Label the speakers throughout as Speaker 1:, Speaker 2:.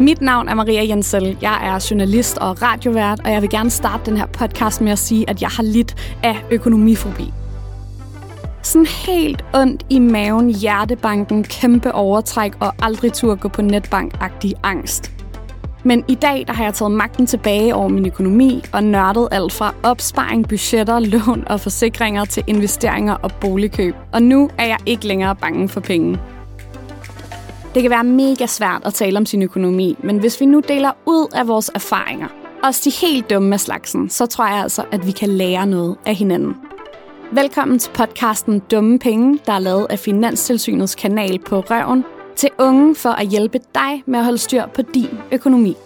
Speaker 1: Mit navn er Maria Jensel. Jeg er journalist og radiovært, og jeg vil gerne starte den her podcast med at sige, at jeg har lidt af økonomifobi. Sådan helt ondt i maven, hjertebanken, kæmpe overtræk og aldrig tur gå på netbank-agtig angst. Men i dag der har jeg taget magten tilbage over min økonomi og nørdet alt fra opsparing, budgetter, lån og forsikringer til investeringer og boligkøb. Og nu er jeg ikke længere bange for penge. Det kan være mega svært at tale om sin økonomi, men hvis vi nu deler ud af vores erfaringer, også de helt dumme af slagsen, så tror jeg altså, at vi kan lære noget af hinanden. Velkommen til podcasten Dumme Penge, der er lavet af Finanstilsynets kanal på Røven, til unge for at hjælpe dig med at holde styr på din økonomi.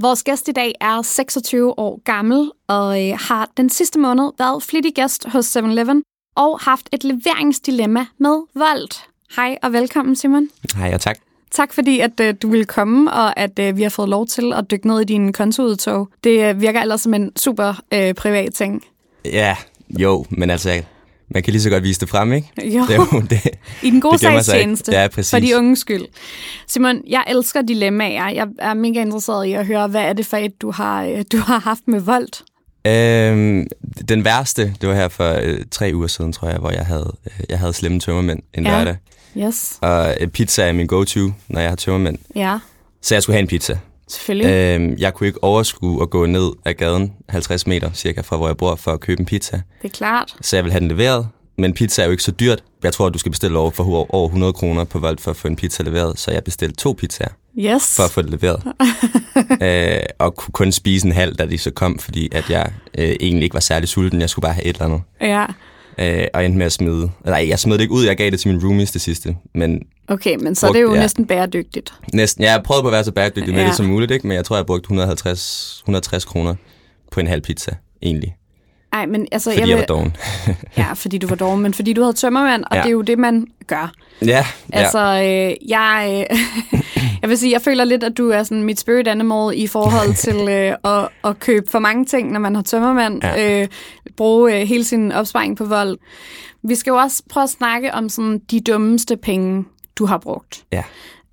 Speaker 1: Vores gæst i dag er 26 år gammel og øh, har den sidste måned været flittig gæst hos 7-Eleven og haft et leveringsdilemma med Volt. Hej og velkommen, Simon.
Speaker 2: Hej og tak.
Speaker 1: Tak fordi, at øh, du ville komme, og at øh, vi har fået lov til at dykke ned i dine kontoudtog. Det øh, virker ellers som en super øh, privat ting.
Speaker 2: Ja, jo, men altså, man kan lige så godt vise det frem, ikke?
Speaker 1: Jo.
Speaker 2: Det, er jo- det,
Speaker 1: I den gode
Speaker 2: Det gemmer
Speaker 1: sags
Speaker 2: sig ikke.
Speaker 1: tjeneste.
Speaker 2: Ja, præcis.
Speaker 1: For de unges skyld. Simon, jeg elsker dilemmaer. Jeg er mega interesseret i at høre, hvad er det for et, du har, øh, du har haft med voldt?
Speaker 2: øhm, den værste, det var her for øh, tre uger siden, tror jeg, hvor jeg havde, øh, jeg havde slemme tømmermænd en
Speaker 1: Ja.
Speaker 2: ja. lørdag.
Speaker 1: Yes.
Speaker 2: Og øh, pizza er min go-to, når jeg har tømmermænd.
Speaker 1: Ja,
Speaker 2: Så jeg skulle have en pizza.
Speaker 1: selvfølgelig. Øh.
Speaker 2: Øhm, jeg kunne ikke overskue at gå ned ad gaden 50 meter cirka fra, hvor jeg bor, for at købe en pizza.
Speaker 1: Det er klart.
Speaker 2: Så jeg ville have den leveret, men pizza er jo ikke så dyrt. Jeg tror, at du skal bestille over, for hu- over 100 kroner på Volt for at få en pizza leveret, så jeg bestilte to pizzaer.
Speaker 1: Yes.
Speaker 2: for at få det leveret. øh, og kunne kun spise en halv, da de så kom, fordi at jeg øh, egentlig ikke var særlig sulten. Jeg skulle bare have et eller andet.
Speaker 1: Ja.
Speaker 2: Øh, og endte med at smide... Nej, jeg smed det ikke ud. Jeg gav det til min roomies det sidste. Men
Speaker 1: Okay, men så er det jo
Speaker 2: Brugt, ja.
Speaker 1: næsten bæredygtigt.
Speaker 2: næsten... Jeg prøvede på at være så bæredygtig med
Speaker 1: Ja.
Speaker 2: det som muligt, ikke? men jeg tror, jeg brugte 150, 160 kroner på en halv pizza, egentlig.
Speaker 1: Nej, men altså...
Speaker 2: Fordi jeg, var doven.
Speaker 1: Ja, fordi du var dårlig, men fordi du havde tømmermand, og ja.
Speaker 2: Ja.
Speaker 1: det er jo det, man gør.
Speaker 2: ja,
Speaker 1: Altså,
Speaker 2: altså... ja.
Speaker 1: øh, jeg, øh, jeg vil sige, jeg føler lidt, at du er sådan mit spirit animal i forhold til øh, at, at købe for mange ting, når man har tømmermand. Ja. Øh, bruge øh, hele sin opsparing på vold. Vi skal jo også prøve at snakke om sådan de dummeste penge, du har brugt.
Speaker 2: ja.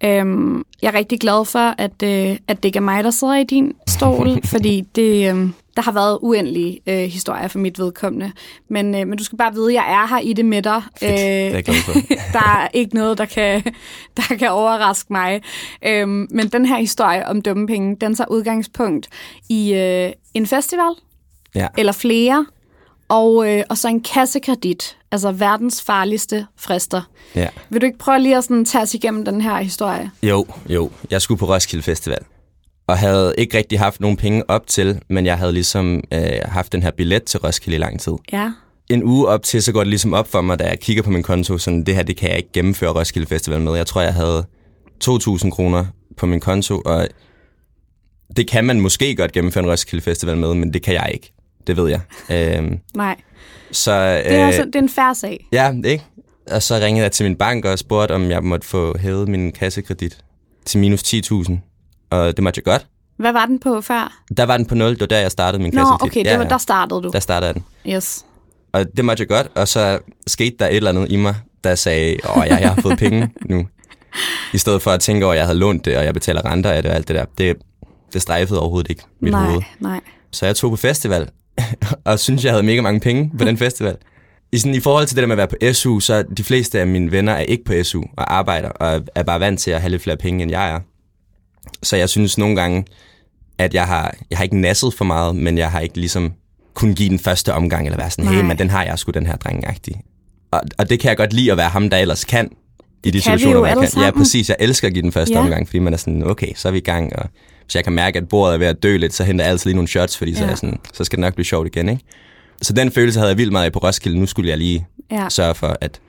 Speaker 1: Øhm, jeg er rigtig glad for, at, øh, at det ikke er mig, der sidder i din stol, fordi det, øh, der har været uendelige øh, historier for mit vedkommende. Men, øh, men du skal bare vide, at jeg er her i det med dig. Øh,
Speaker 2: Fedt. Det er jeg glad for.
Speaker 1: der er ikke noget, der kan, der kan overraske mig. Øhm, men den her historie om dumme penge, den tager udgangspunkt i øh, en festival,
Speaker 2: Ja.
Speaker 1: eller flere, og, øh, og så en kassekredit, altså verdens farligste frister.
Speaker 2: ja.
Speaker 1: Vil du ikke prøve lige at sådan, tage os igennem den her historie?
Speaker 2: Jo, jo. Jeg skulle på Roskilde Festival, og havde ikke rigtig haft nogen penge op til, men jeg havde ligesom øh, haft den her billet til Roskilde i lang tid.
Speaker 1: Ja.
Speaker 2: en uge op til, så går det ligesom op for mig, da jeg kigger på min konto, sådan, det her, det kan jeg ikke gennemføre Roskilde Festival med. Jeg tror, jeg havde 2.000 kroner på min konto, og det kan man måske godt gennemføre en Roskilde Festival med, men det kan jeg ikke. Det ved jeg. Øhm,
Speaker 1: Nej,
Speaker 2: så,
Speaker 1: det er, øh, også, det er en færre sag.
Speaker 2: ja, ikke? Og så ringede jeg til min bank og spurgte, om jeg måtte få hævet min kassekredit til minus 10.000. Og det måtte jeg godt.
Speaker 1: Hvad var den på før?
Speaker 2: Der var den på 0, det var der, jeg startede min
Speaker 1: Nå,
Speaker 2: kassekredit.
Speaker 1: okay, det var, der startede du.
Speaker 2: der startede jeg den.
Speaker 1: Yes.
Speaker 2: Og det måtte jeg godt, og så skete der et eller andet i mig, der sagde, åh, jeg, jeg har fået penge nu. I stedet for at tænke over, at jeg havde lånt det, og jeg betaler renter af det og alt det der. Det, det strejfede overhovedet ikke mit
Speaker 1: nej,
Speaker 2: hoved.
Speaker 1: nej.
Speaker 2: Så jeg tog på festival, og synes jeg havde mega mange penge på den festival. I, sådan, I forhold til det der med at være på SU, så er de fleste af mine venner er ikke på SU og arbejder, og er bare vant til at have lidt flere penge, end jeg er. Så jeg synes nogle gange, at jeg har, jeg har ikke nasset for meget, men jeg har ikke ligesom kun give den første omgang, eller være sådan, hey,
Speaker 1: Nej.
Speaker 2: men den har jeg sgu, den her drengagtig. Og, og det kan jeg godt lide at være ham, der ellers kan i de
Speaker 1: kan vi
Speaker 2: situationer,
Speaker 1: jo
Speaker 2: hvor jeg
Speaker 1: alle
Speaker 2: kan. Ja,
Speaker 1: sammen.
Speaker 2: præcis. Jeg elsker at give den første
Speaker 1: Ja.
Speaker 2: ja. omgang, fordi man er sådan, okay, så er vi i gang, og hvis jeg kan mærke, at bordet er ved at dø lidt, så henter jeg altid lige nogle shots, fordi ja. så,
Speaker 1: Ja.
Speaker 2: er jeg sådan, så skal det nok blive sjovt igen, ikke? Så den følelse havde jeg vildt meget af på Roskilde. Nu skulle jeg lige
Speaker 1: Ja.
Speaker 2: ja. sørge for, at,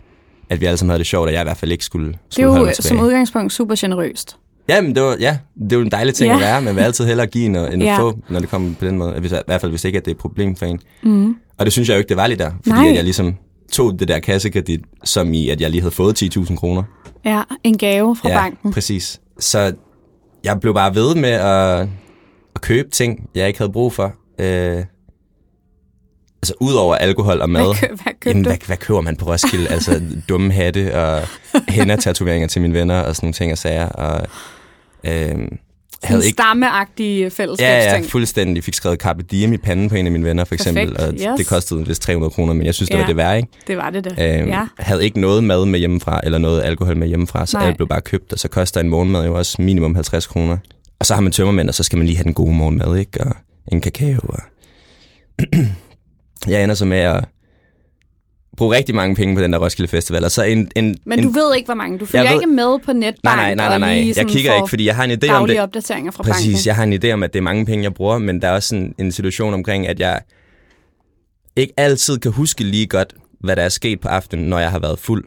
Speaker 2: at vi alle sammen havde det sjovt, og jeg i hvert fald ikke skulle,
Speaker 1: Det
Speaker 2: skulle
Speaker 1: er
Speaker 2: holde
Speaker 1: jo øh,
Speaker 2: mig
Speaker 1: som
Speaker 2: tilbage.
Speaker 1: udgangspunkt super generøst.
Speaker 2: Jamen, det var, ja, det var en dejlig ting
Speaker 1: Ja.
Speaker 2: ja. at være. Man vil altid hellere give, end, at- end at
Speaker 1: Ja.
Speaker 2: få, når det kommer på den måde. Hvis, I hvert fald, hvis ikke at det er et problem for en. Mm. Og det synes jeg jo ikke, det var lige der. Fordi
Speaker 1: Nej.
Speaker 2: at jeg ligesom tog det der kassekredit, som i, at jeg lige havde fået 10.000 kroner.
Speaker 1: Ja, en gave fra ja. banken.
Speaker 2: præcis. Så jeg blev bare ved med at, at købe ting, jeg ikke havde brug for. Øh, Altså, udover alkohol og mad,
Speaker 1: Hvad kø- hvad købte
Speaker 2: jamen,
Speaker 1: du?
Speaker 2: hvad, hvad køber man på Roskilde? altså, dumme hatte og hænder-tatoveringer til mine venner og sådan nogle ting og sager. Og, øhm,
Speaker 1: Sådan
Speaker 2: havde ikke,
Speaker 1: stammeagtige
Speaker 2: ja, ja,
Speaker 1: øh, fællesskabsting.
Speaker 2: fuldstændig fik skrevet Carpe Diem i panden på en af mine venner, for eksempel.
Speaker 1: Perfekt,
Speaker 2: og
Speaker 1: yes.
Speaker 2: det kostede vist 300 kroner, men jeg synes, det
Speaker 1: Ja.
Speaker 2: var det værd, ikke?
Speaker 1: det var det da.
Speaker 2: Øhm,
Speaker 1: ja.
Speaker 2: ja. Havde ikke noget mad med hjemmefra, eller noget alkohol med hjemmefra, så
Speaker 1: Nej.
Speaker 2: Nej. alt blev bare købt, og så koster en morgenmad jo også minimum 50 kroner. Og så har man tømmermænd, og så skal man lige have den gode morgenmad, ikke? Og en kakao. Og jeg ender så med at bruge rigtig mange penge på den der Roskilde Festival, og så en... en
Speaker 1: Men
Speaker 2: en,
Speaker 1: du ved ikke, hvor mange. Du følger
Speaker 2: ved-
Speaker 1: ikke med på netbank
Speaker 2: Nej, nej, nej, nej,
Speaker 1: og
Speaker 2: nej.
Speaker 1: lige
Speaker 2: Jeg
Speaker 1: sådan
Speaker 2: kigger
Speaker 1: får
Speaker 2: ikke, fordi jeg har en idé om
Speaker 1: daglige
Speaker 2: det.
Speaker 1: opdateringer fra
Speaker 2: Præcis,
Speaker 1: banken.
Speaker 2: jeg har en idé om, at det er mange penge, jeg bruger, men der er også en, en situation omkring, at jeg ikke altid kan huske lige godt, hvad der er sket på aftenen, når jeg har været fuld.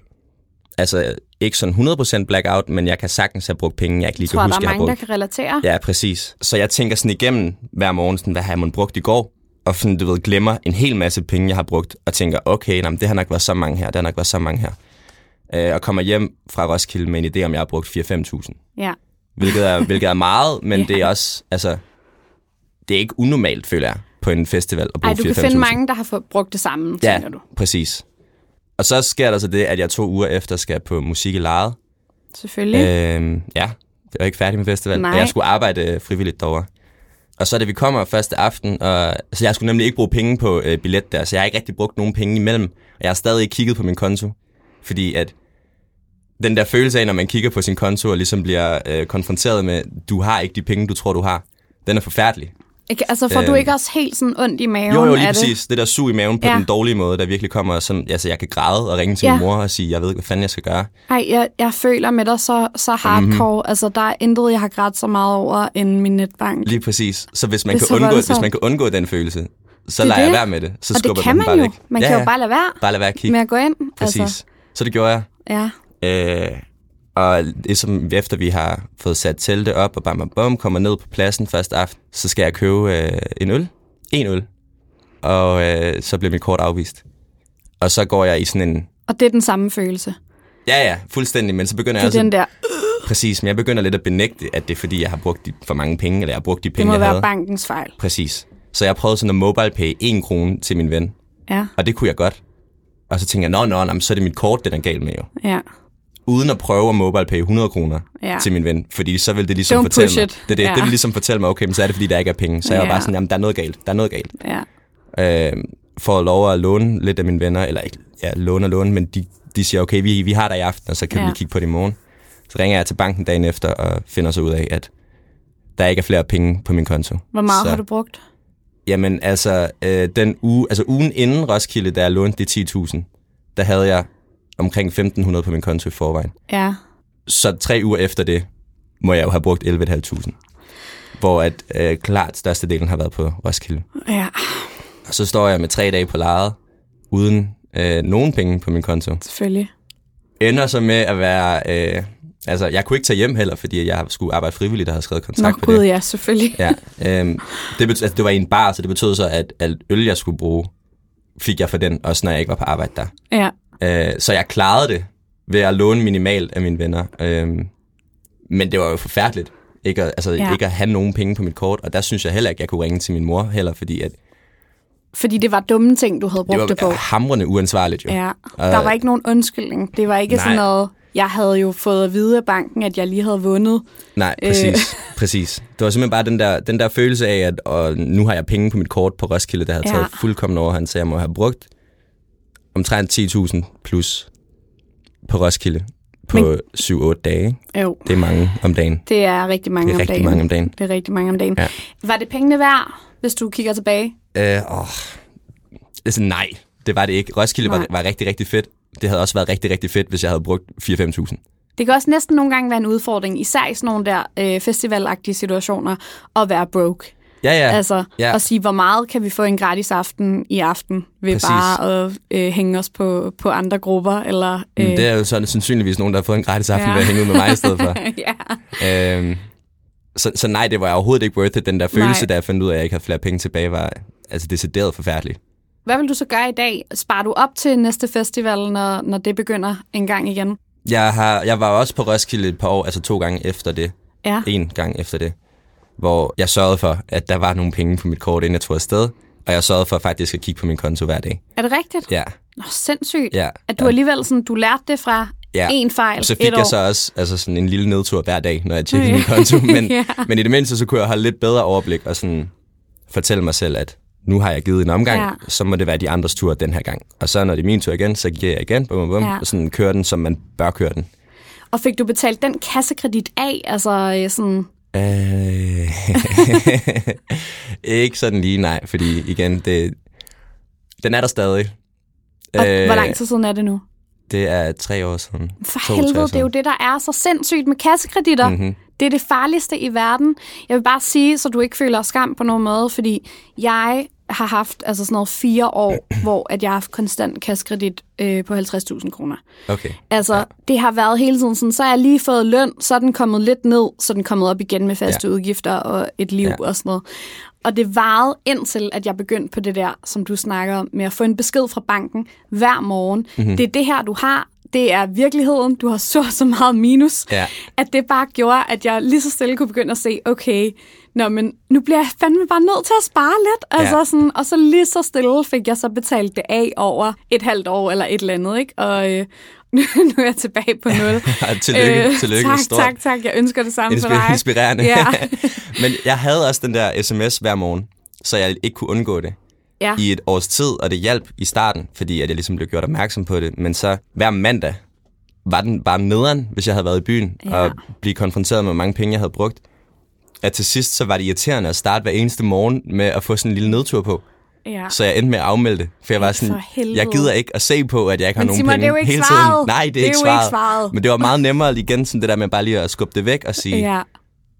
Speaker 2: Altså, ikke sådan 100% blackout, men jeg kan sagtens have brugt penge, jeg ikke lige
Speaker 1: Jeg tror,
Speaker 2: kan
Speaker 1: der
Speaker 2: huske,
Speaker 1: er
Speaker 2: jeg har
Speaker 1: mange, der
Speaker 2: brugt.
Speaker 1: kan relatere.
Speaker 2: Ja, præcis. Så jeg tænker sådan igennem hver morgen, sådan, hvad har jeg mon brugt i går? Og sådan, du ved, glemmer en hel masse penge, jeg har brugt, og tænker, okay, nej, det har nok været så mange her, det har nok været så mange her. Øh, og kommer hjem fra Roskilde med en idé om, jeg har brugt 4-5.000
Speaker 1: Ja.
Speaker 2: hvilket er, hvilket er meget, men det er også, altså, det er ikke unormalt, føler jeg, på en festival at bruge
Speaker 1: Ej, du kan
Speaker 2: 4-5.000.
Speaker 1: finde mange, der har fået brugt det samme,
Speaker 2: Ja,
Speaker 1: tænker du.
Speaker 2: præcis. Og så sker der så det, at jeg to uger efter skal på musik i lejet.
Speaker 1: Selvfølgelig. Øh,
Speaker 2: Øhm, ja, det var ikke færdig med festivalen.
Speaker 1: Nej.
Speaker 2: og Jeg skulle arbejde øh, frivilligt derovre. Og så da vi kommer første aften, og, så jeg skulle nemlig ikke bruge penge på øh, billet der, så jeg har ikke rigtig brugt nogen penge imellem. Og jeg har stadig ikke kigget på min konto, fordi at den der følelse af, når man kigger på sin konto og ligesom bliver øh, konfronteret med, du har ikke de penge, du tror, du har, den er forfærdelig.
Speaker 1: altså, får øh, du
Speaker 2: øhm,
Speaker 1: ikke også helt sådan ondt i maven
Speaker 2: Jo, jo, lige
Speaker 1: af det?
Speaker 2: præcis. Det der sug i maven på
Speaker 1: Ja.
Speaker 2: ja. den dårlige måde, der virkelig kommer, og sådan, altså jeg kan græde og ringe til
Speaker 1: Ja.
Speaker 2: min mor og sige, jeg ved ikke, hvad fanden jeg skal gøre.
Speaker 1: Ej, jeg, jeg føler med dig så, så
Speaker 2: Mhm.
Speaker 1: hardcore. Mm-hmm. Altså, der er intet, jeg har grædt så meget over, end min netbank.
Speaker 2: Lige præcis. Så hvis man,
Speaker 1: Det er
Speaker 2: kan
Speaker 1: så
Speaker 2: undgå,
Speaker 1: voldsomt.
Speaker 2: hvis man kan undgå den følelse, så
Speaker 1: Det er
Speaker 2: lader jeg
Speaker 1: det.
Speaker 2: være med det. Så
Speaker 1: og
Speaker 2: skubber
Speaker 1: det kan
Speaker 2: man,
Speaker 1: man,
Speaker 2: den bare
Speaker 1: jo.
Speaker 2: væk.
Speaker 1: Man kan jo bare lade være
Speaker 2: bare lade være at kigge.
Speaker 1: med at gå ind. Altså,
Speaker 2: Præcis. Altså. Så det gjorde jeg.
Speaker 1: ja.
Speaker 2: Øh, og ligesom efter vi har fået sat teltet op og bam, bam, bam, kommer ned på pladsen første aften, så skal jeg købe øh, en øl. En øl. Og øh, så bliver mit kort afvist. Og så går jeg i sådan en...
Speaker 1: Og det er den samme følelse.
Speaker 2: Ja, ja, fuldstændig, men så begynder
Speaker 1: Det
Speaker 2: jeg
Speaker 1: er
Speaker 2: også...
Speaker 1: den der,
Speaker 2: Præcis, men jeg begynder lidt at benægte, at det er fordi, jeg har brugt de, for mange penge, eller jeg har brugt de
Speaker 1: det
Speaker 2: penge,
Speaker 1: må
Speaker 2: jeg
Speaker 1: være
Speaker 2: havde.
Speaker 1: bankens fejl.
Speaker 2: Præcis. Så jeg prøvede sådan at mobile pay en krone til min ven,
Speaker 1: Ja,
Speaker 2: og det kunne jeg godt. Og så tænkte jeg, nå, nå, nå men så er det mit kort, den er galt med jo.
Speaker 1: ja.
Speaker 2: Uden at prøve at mobile pay 100 kroner
Speaker 1: Ja.
Speaker 2: ja. til min ven, fordi så vil det ligesom
Speaker 1: Don't
Speaker 2: fortælle
Speaker 1: push
Speaker 2: mig.
Speaker 1: it.
Speaker 2: Det, er det,
Speaker 1: Ja.
Speaker 2: ja. det vil ligesom fortælle mig, okay, men så er det fordi, der ikke er penge. Så jeg
Speaker 1: Ja.
Speaker 2: var bare sådan, jamen der er noget galt, der er noget galt.
Speaker 1: ja.
Speaker 2: Øh, får lov at låne lidt af mine venner, eller ikke, ja, låne og låne, men de, de siger, okay, vi, vi har dig i aften, og så kan
Speaker 1: Ja.
Speaker 2: ja. vi lige kigge på det i morgen. Så ringer jeg til banken dagen efter og finder så ud af, at der ikke er flere penge på min konto.
Speaker 1: Hvor meget
Speaker 2: så,
Speaker 1: har du brugt?
Speaker 2: Jamen altså, øh, den uge, altså ugen inden Roskilde, da jeg lånte de 10.000, der havde jeg omkring 1.500 på min konto i forvejen.
Speaker 1: Ja.
Speaker 2: Så tre uger efter det, må jeg jo have brugt 11.500. Hvor at øh, klart størstedelen har været på Roskilde.
Speaker 1: Ja,
Speaker 2: Og så står jeg med tre dage på lejet, uden øh, nogen penge på min konto.
Speaker 1: selvfølgelig.
Speaker 2: Ender så med at være... Øh, altså, jeg kunne ikke tage hjem heller, fordi jeg skulle arbejde frivilligt og havde skrevet kontrakt
Speaker 1: Nå
Speaker 2: på
Speaker 1: gud,
Speaker 2: det.
Speaker 1: ja, selvfølgelig.
Speaker 2: Ja, øhm, det, betød, altså, det var i en bar, så det betød så, at alt øl, jeg skulle bruge, fik jeg for den, også når jeg ikke var på arbejde der.
Speaker 1: Ja.
Speaker 2: Øh, så jeg klarede det ved at låne minimalt af mine venner. Øhm, men det var jo forfærdeligt, ikke at, altså,
Speaker 1: Ja.
Speaker 2: ja. ikke at have nogen penge på mit kort, og der synes jeg heller ikke, jeg kunne ringe til min mor heller, fordi at
Speaker 1: Fordi det var dumme ting, du havde
Speaker 2: det
Speaker 1: brugt
Speaker 2: var
Speaker 1: det, på.
Speaker 2: hamrende uansvarligt jo.
Speaker 1: Ja. Der var ikke nogen undskyldning. Det var ikke
Speaker 2: Nej.
Speaker 1: sådan noget, jeg havde jo fået at vide af banken, at jeg lige havde vundet.
Speaker 2: Nej,
Speaker 1: Øh.
Speaker 2: præcis, øh. præcis. Det var simpelthen bare den der, den der følelse af, at og nu har jeg penge på mit kort på Roskilde, der havde
Speaker 1: Ja.
Speaker 2: ja. taget fuldkommen over, han sagde, jeg må have brugt omtrent 10.000 plus på Roskilde på 7-8 dage.
Speaker 1: Jo,
Speaker 2: Det er mange om dagen.
Speaker 1: det er rigtig mange
Speaker 2: Det er
Speaker 1: om
Speaker 2: rigtig
Speaker 1: dagen.
Speaker 2: mange om dagen.
Speaker 1: Det er rigtig mange om dagen.
Speaker 2: Ja.
Speaker 1: Var det pengene værd, hvis du kigger tilbage?
Speaker 2: Øh, åh. Altså, nej, det var det ikke. Roskilde
Speaker 1: Nej.
Speaker 2: var, var rigtig, rigtig fedt. Det havde også været rigtig, rigtig fedt, hvis jeg havde brugt 4-5.000.
Speaker 1: Det kan også næsten nogle gange være en udfordring, især i sådan nogle der øh, festivalagtige situationer, at være broke.
Speaker 2: Ja, ja.
Speaker 1: Altså
Speaker 2: ja.
Speaker 1: at sige, hvor meget kan vi få en gratis aften i aften, ved
Speaker 2: Præcis.
Speaker 1: bare at øh, hænge os på, på andre grupper, eller... Øh,
Speaker 2: Men det er jo sådan, sandsynligvis nogen, der har fået en gratis aften
Speaker 1: Ja.
Speaker 2: ja. ved at hænge ud med mig i stedet for.
Speaker 1: ja.
Speaker 2: øhm, så, så nej, det var overhovedet ikke worth it. Den der følelse,
Speaker 1: Nej.
Speaker 2: nej. da jeg fandt ud af, at jeg ikke havde flere penge tilbage, var altså decideret forfærdelig.
Speaker 1: Hvad vil du så gøre i dag? Sparer du op til næste festival, når, når det begynder en gang igen?
Speaker 2: Jeg, har, jeg var også på Roskilde et par år, altså to gange efter det.
Speaker 1: Ja.
Speaker 2: E- En gang efter det. Hvor jeg sørgede for, at der var nogle penge på mit kort, inden jeg tog afsted. Og jeg sørgede for faktisk at kigge på min konto hver dag.
Speaker 1: Er det rigtigt?
Speaker 2: Ja,
Speaker 1: Nå, sindssygt.
Speaker 2: ja.
Speaker 1: At du alligevel sådan, du lærte det fra
Speaker 2: Ja.
Speaker 1: en fejl,
Speaker 2: Og så
Speaker 1: et
Speaker 2: fik
Speaker 1: år.
Speaker 2: jeg så også altså sådan en lille nedtur hver dag, når jeg tjekkede
Speaker 1: Ja.
Speaker 2: min konto. Men,
Speaker 1: Ja.
Speaker 2: men i det mindste, så kunne jeg holde lidt bedre overblik og sådan fortælle mig selv, at nu har jeg givet en omgang,
Speaker 1: Ja.
Speaker 2: ja. så må det være de andres tur den her gang. Og så når det er min tur igen, så giver jeg igen, bum, bum, bum,
Speaker 1: Ja.
Speaker 2: ja. og sådan kører den, som man bør køre den.
Speaker 1: Og fik du betalt den kassekredit af? Altså øh, sådan,
Speaker 2: Øh, ikke sådan lige, nej, fordi igen, det, den er der stadig. Øh,
Speaker 1: og hvor lang tid siden er det nu?
Speaker 2: Det er tre år siden.
Speaker 1: For
Speaker 2: To,
Speaker 1: helvede,
Speaker 2: tre år
Speaker 1: det er jo
Speaker 2: siden. Mhm.
Speaker 1: det, der er så sindssygt med kassekreditter. Mm-hmm. Det er det farligste i verden. Jeg vil bare sige, så du ikke føler skam på nogen måde, fordi jeg har haft altså sådan noget fire år, hvor at jeg har haft konstant kassekredit øh, på 50.000 kroner.
Speaker 2: Okay.
Speaker 1: Altså, ja. det har været hele tiden sådan, så har jeg lige fået løn, så er den kommet lidt ned, så er den kommet op igen med faste ja. udgifter og et liv ja.
Speaker 2: Ja.
Speaker 1: og sådan noget. Og det varede indtil, at jeg begyndte på det der, som du snakker om, med at få en besked fra banken hver morgen. Mm-hmm. Det er det her, du har. Det er virkeligheden. Du har så og så meget minus.
Speaker 2: Ja.
Speaker 1: At det bare gjorde, at jeg lige så stille kunne begynde at se, okay, nå, men nu bliver jeg fandme bare nødt til at spare lidt. Altså,
Speaker 2: Ja.
Speaker 1: sådan, og så lige så stille fik jeg så betalt det af over et halvt år eller et eller andet, ikke? Og øh, nu, nu er jeg tilbage på nul. Øh,
Speaker 2: tillykke, tillykke.
Speaker 1: Tak,
Speaker 2: Stort.
Speaker 1: tak, tak. Jeg ønsker det samme for
Speaker 2: Inspi-
Speaker 1: dig.
Speaker 2: inspirerende.
Speaker 1: Ja.
Speaker 2: Men jeg havde også den der sms hver morgen, så jeg ikke kunne undgå det
Speaker 1: Ja.
Speaker 2: i et års tid, og det hjalp i starten, fordi at jeg ligesom blev gjort opmærksom på det. Men så hver mandag var den bare nederen, hvis jeg havde været i byen,
Speaker 1: Ja.
Speaker 2: ja. og blive konfronteret med, hvor mange penge jeg havde brugt. At til sidst, så var det irriterende at starte hver eneste morgen med at få sådan en lille nedtur på.
Speaker 1: ja.
Speaker 2: Så jeg endte med at afmelde det, for jeg var sådan,
Speaker 1: for helvede.
Speaker 2: jeg gider ikke at se på, at jeg ikke har
Speaker 1: Men
Speaker 2: nogen
Speaker 1: Simon,
Speaker 2: penge
Speaker 1: det er jo ikke
Speaker 2: hele
Speaker 1: svaret.
Speaker 2: tiden. Nej, det er,
Speaker 1: Det er
Speaker 2: ikke,
Speaker 1: jo
Speaker 2: svaret.
Speaker 1: ikke svaret.
Speaker 2: Men det var meget nemmere igen, sådan det der med bare lige at skubbe det væk og sige,
Speaker 1: ja.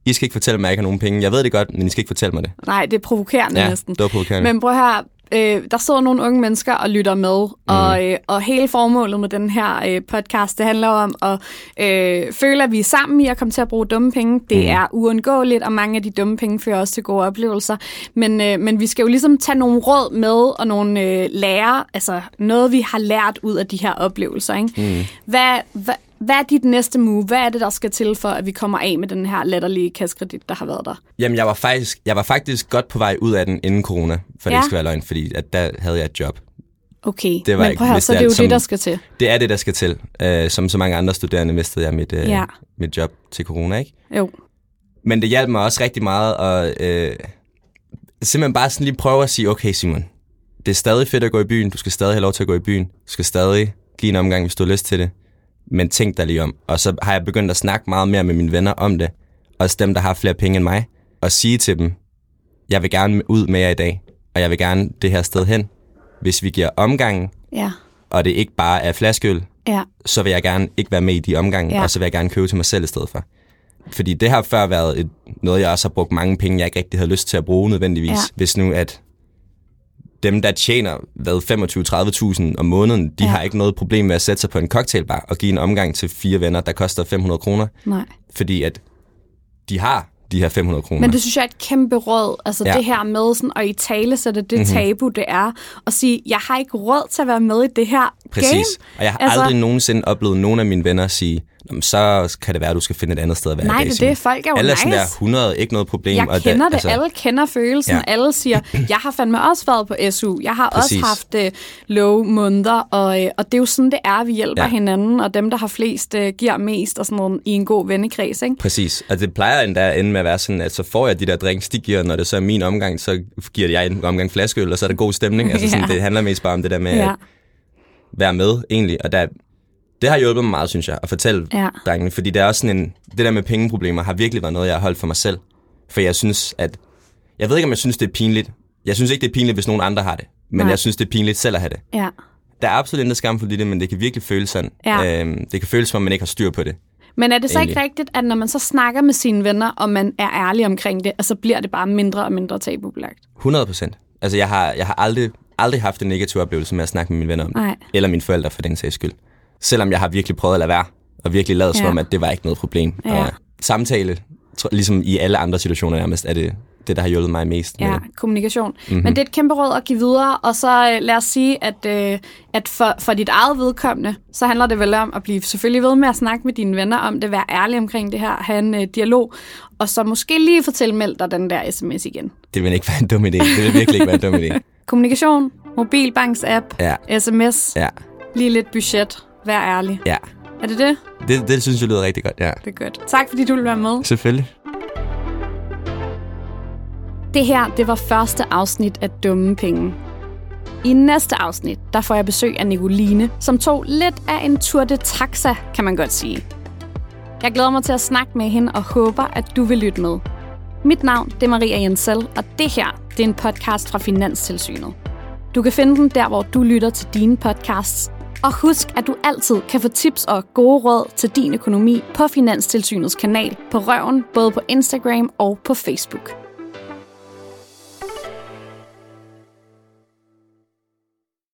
Speaker 2: i skal ikke fortælle mig, at jeg ikke har nogen penge. Jeg ved det godt, men I skal ikke fortælle mig det.
Speaker 1: Nej, det er provokerende
Speaker 2: Ja,
Speaker 1: næsten.
Speaker 2: det var provokerende.
Speaker 1: Men prøv at høre, øh, der sidder nogle unge mennesker og lytter med, mm.
Speaker 2: Mhm.
Speaker 1: og, øh, og hele formålet med den her øh, podcast, det handler jo om at øh, føle, at vi er sammen i at komme til at bruge dumme penge.
Speaker 2: Mhm.
Speaker 1: Det mm. er uundgåeligt, og mange af de dumme penge fører også til gode oplevelser. Men, øh, men vi skal jo ligesom tage nogle råd med, og nogle øh, lærer, altså noget, vi har lært ud af de her oplevelser.
Speaker 2: Mhm.
Speaker 1: Ikke? Mm. Hvad, hvad, hvad er dit næste move? Hvad er det, der skal til for, at vi kommer af med den her latterlige kaskredit, der har været der?
Speaker 2: Jamen, jeg var, faktisk, jeg var faktisk godt på vej ud af den inden corona, for ja. det
Speaker 1: Ja.
Speaker 2: ikke skal være løgn, fordi at der havde jeg et job.
Speaker 1: Okay,
Speaker 2: Det var
Speaker 1: men
Speaker 2: ikke-
Speaker 1: prøv at høre,
Speaker 2: hvis
Speaker 1: så
Speaker 2: det
Speaker 1: det er
Speaker 2: er
Speaker 1: jo
Speaker 2: som-
Speaker 1: det, der skal til.
Speaker 2: Det er det, der skal til. Øh, som så mange andre studerende mistede jeg mit, øh,
Speaker 1: Ja.
Speaker 2: ja. mit job til corona, ikke?
Speaker 1: Jo.
Speaker 2: Men det hjalp mig også rigtig meget at øh, simpelthen bare sådan lige prøve at sige, okay Simon, det er stadig fedt at gå i byen, du skal stadig have lov til at gå i byen, du skal stadig give en omgang, hvis du har lyst til det, men tænk dig lige om. Og så har jeg begyndt at snakke meget mere med mine venner om det, også dem, der har flere penge end mig, og sige til dem, jeg vil gerne ud med jer i dag, og jeg vil gerne det her sted hen. Hvis vi giver omgangen,
Speaker 1: Ja,
Speaker 2: og det ikke bare er flaskeøl,
Speaker 1: ja,
Speaker 2: så vil jeg gerne ikke være med i de omgange,
Speaker 1: Ja.
Speaker 2: ja. og så vil jeg gerne købe til mig selv i stedet for. Fordi det har før været et, noget, jeg også har brugt mange penge, jeg ikke rigtig havde lyst til at bruge nødvendigvis.
Speaker 1: Ja.
Speaker 2: Ja. Hvis nu, at dem, der tjener hvad, 25-30.000 om måneden, de
Speaker 1: Ja.
Speaker 2: ja. har ikke noget problem med at sætte sig på en cocktailbar og give en omgang til fire venner, der koster 500 kroner,
Speaker 1: nej.
Speaker 2: fordi at de har de her 500 kroner.
Speaker 1: Men det synes jeg er et kæmpe råd, altså ja.
Speaker 2: Ja. Mhm.
Speaker 1: det her med sådan, at i tale sætte det mm-hmm. tabu, det er, og sige, jeg har ikke råd til at være med i det her
Speaker 2: Præcis.
Speaker 1: game.
Speaker 2: Og jeg har
Speaker 1: Altså-
Speaker 2: altså... aldrig nogensinde oplevet nogen af mine venner sige, "Nå, men så kan det være, at du skal finde et andet sted at være i
Speaker 1: Nej,
Speaker 2: dag,
Speaker 1: det er
Speaker 2: Simon."
Speaker 1: det. Folk er jo
Speaker 2: Alle sådan
Speaker 1: nice.
Speaker 2: der 100, ikke noget problem.
Speaker 1: Jeg
Speaker 2: og
Speaker 1: kender det,
Speaker 2: altså-
Speaker 1: alle kender følelsen,
Speaker 2: Ja.
Speaker 1: ja. alle siger, jeg har fandme også været på SU, jeg har
Speaker 2: Præcis.
Speaker 1: også haft øh, low måneder, og, øh, og det er jo sådan, det er, vi hjælper ja.
Speaker 2: Ja.
Speaker 1: hinanden, og dem, der har flest, øh, giver mest og sådan noget i en god vennekreds, ikke?
Speaker 2: Præcis, og det plejer endda at ende med at være sådan, at så får jeg de der drinks, de giver, når det så er min omgang, så giver jeg en omgang flaskeøl, og så er der god stemning. Altså sådan,
Speaker 1: Ja.
Speaker 2: ja. det handler mest bare om det der med ja.
Speaker 1: Ja,
Speaker 2: at være med, egentlig. Og der, det har hjulpet mig meget, synes jeg, at fortælle
Speaker 1: Ja.
Speaker 2: ja. drengene, fordi det er også sådan en, det der med pengeproblemer har virkelig været noget, jeg har holdt for mig selv. For jeg synes, at, jeg ved ikke, om jeg synes, det er pinligt. Jeg synes ikke, det er pinligt, hvis nogen andre har det. Men
Speaker 1: Nej.
Speaker 2: jeg synes, det er pinligt selv at have det.
Speaker 1: ja.
Speaker 2: Der er absolut intet skamfuldt i det, men det kan virkelig føles sådan.
Speaker 1: Ja.
Speaker 2: Øhm, det kan føles, som om man ikke har styr på det.
Speaker 1: Men er det så ikke
Speaker 2: Egentlig.
Speaker 1: rigtigt, at når man så snakker med sine venner, og man er ærlig omkring det, og så bliver det bare mindre og mindre tabubelagt?
Speaker 2: 100 procent. Altså, jeg har, jeg har aldrig, aldrig haft en negativ oplevelse med at snakke med mine venner om det.
Speaker 1: Nej.
Speaker 2: Eller mine forældre, for den sags skyld. Selvom jeg har virkelig prøvet at lade være, og virkelig lavet som
Speaker 1: Ja.
Speaker 2: om, at det var ikke noget problem.
Speaker 1: Ja.
Speaker 2: Og samtale, tr- ligesom i alle andre situationer nærmest, er det det, der har hjulpet mig mest.
Speaker 1: Ja,
Speaker 2: med
Speaker 1: kommunikation.
Speaker 2: Mhm.
Speaker 1: Mm-hmm. Men det er et kæmpe råd at give videre, og så øh, lad os sige, at, øh, at for, for dit eget vedkommende, så handler det vel om at blive selvfølgelig ved med at snakke med dine venner om det, være ærlig omkring det her, have en øh, dialog, og så måske lige få tilmeldt dig den der sms igen.
Speaker 2: det. det vil ikke være en dum idé. Det vil virkelig ikke være en dum idé.
Speaker 1: Kommunikation, mobilbanksapp,
Speaker 2: Ja,
Speaker 1: sms,
Speaker 2: ja,
Speaker 1: lige lidt budget. Vær ærlig.
Speaker 2: ja.
Speaker 1: Er det det?
Speaker 2: Det, det synes jeg lyder rigtig godt, ja.
Speaker 1: Det er godt. Tak fordi du ville være med.
Speaker 2: Selvfølgelig.
Speaker 1: Det her, det var første afsnit af Dumme Penge. I næste afsnit, der får jeg besøg af Nicoline, som tog lidt af en tur de taxa, kan man godt sige. Jeg glæder mig til at snakke med hende og håber, at du vil lytte med. Mit navn, det er Maria Jensel, og det her, det er en podcast fra Finanstilsynet. Du kan finde den der, hvor du lytter til dine podcasts. Og husk, at du altid kan få tips og gode råd til din økonomi på Finanstilsynets kanal på Røven, både på Instagram og på Facebook.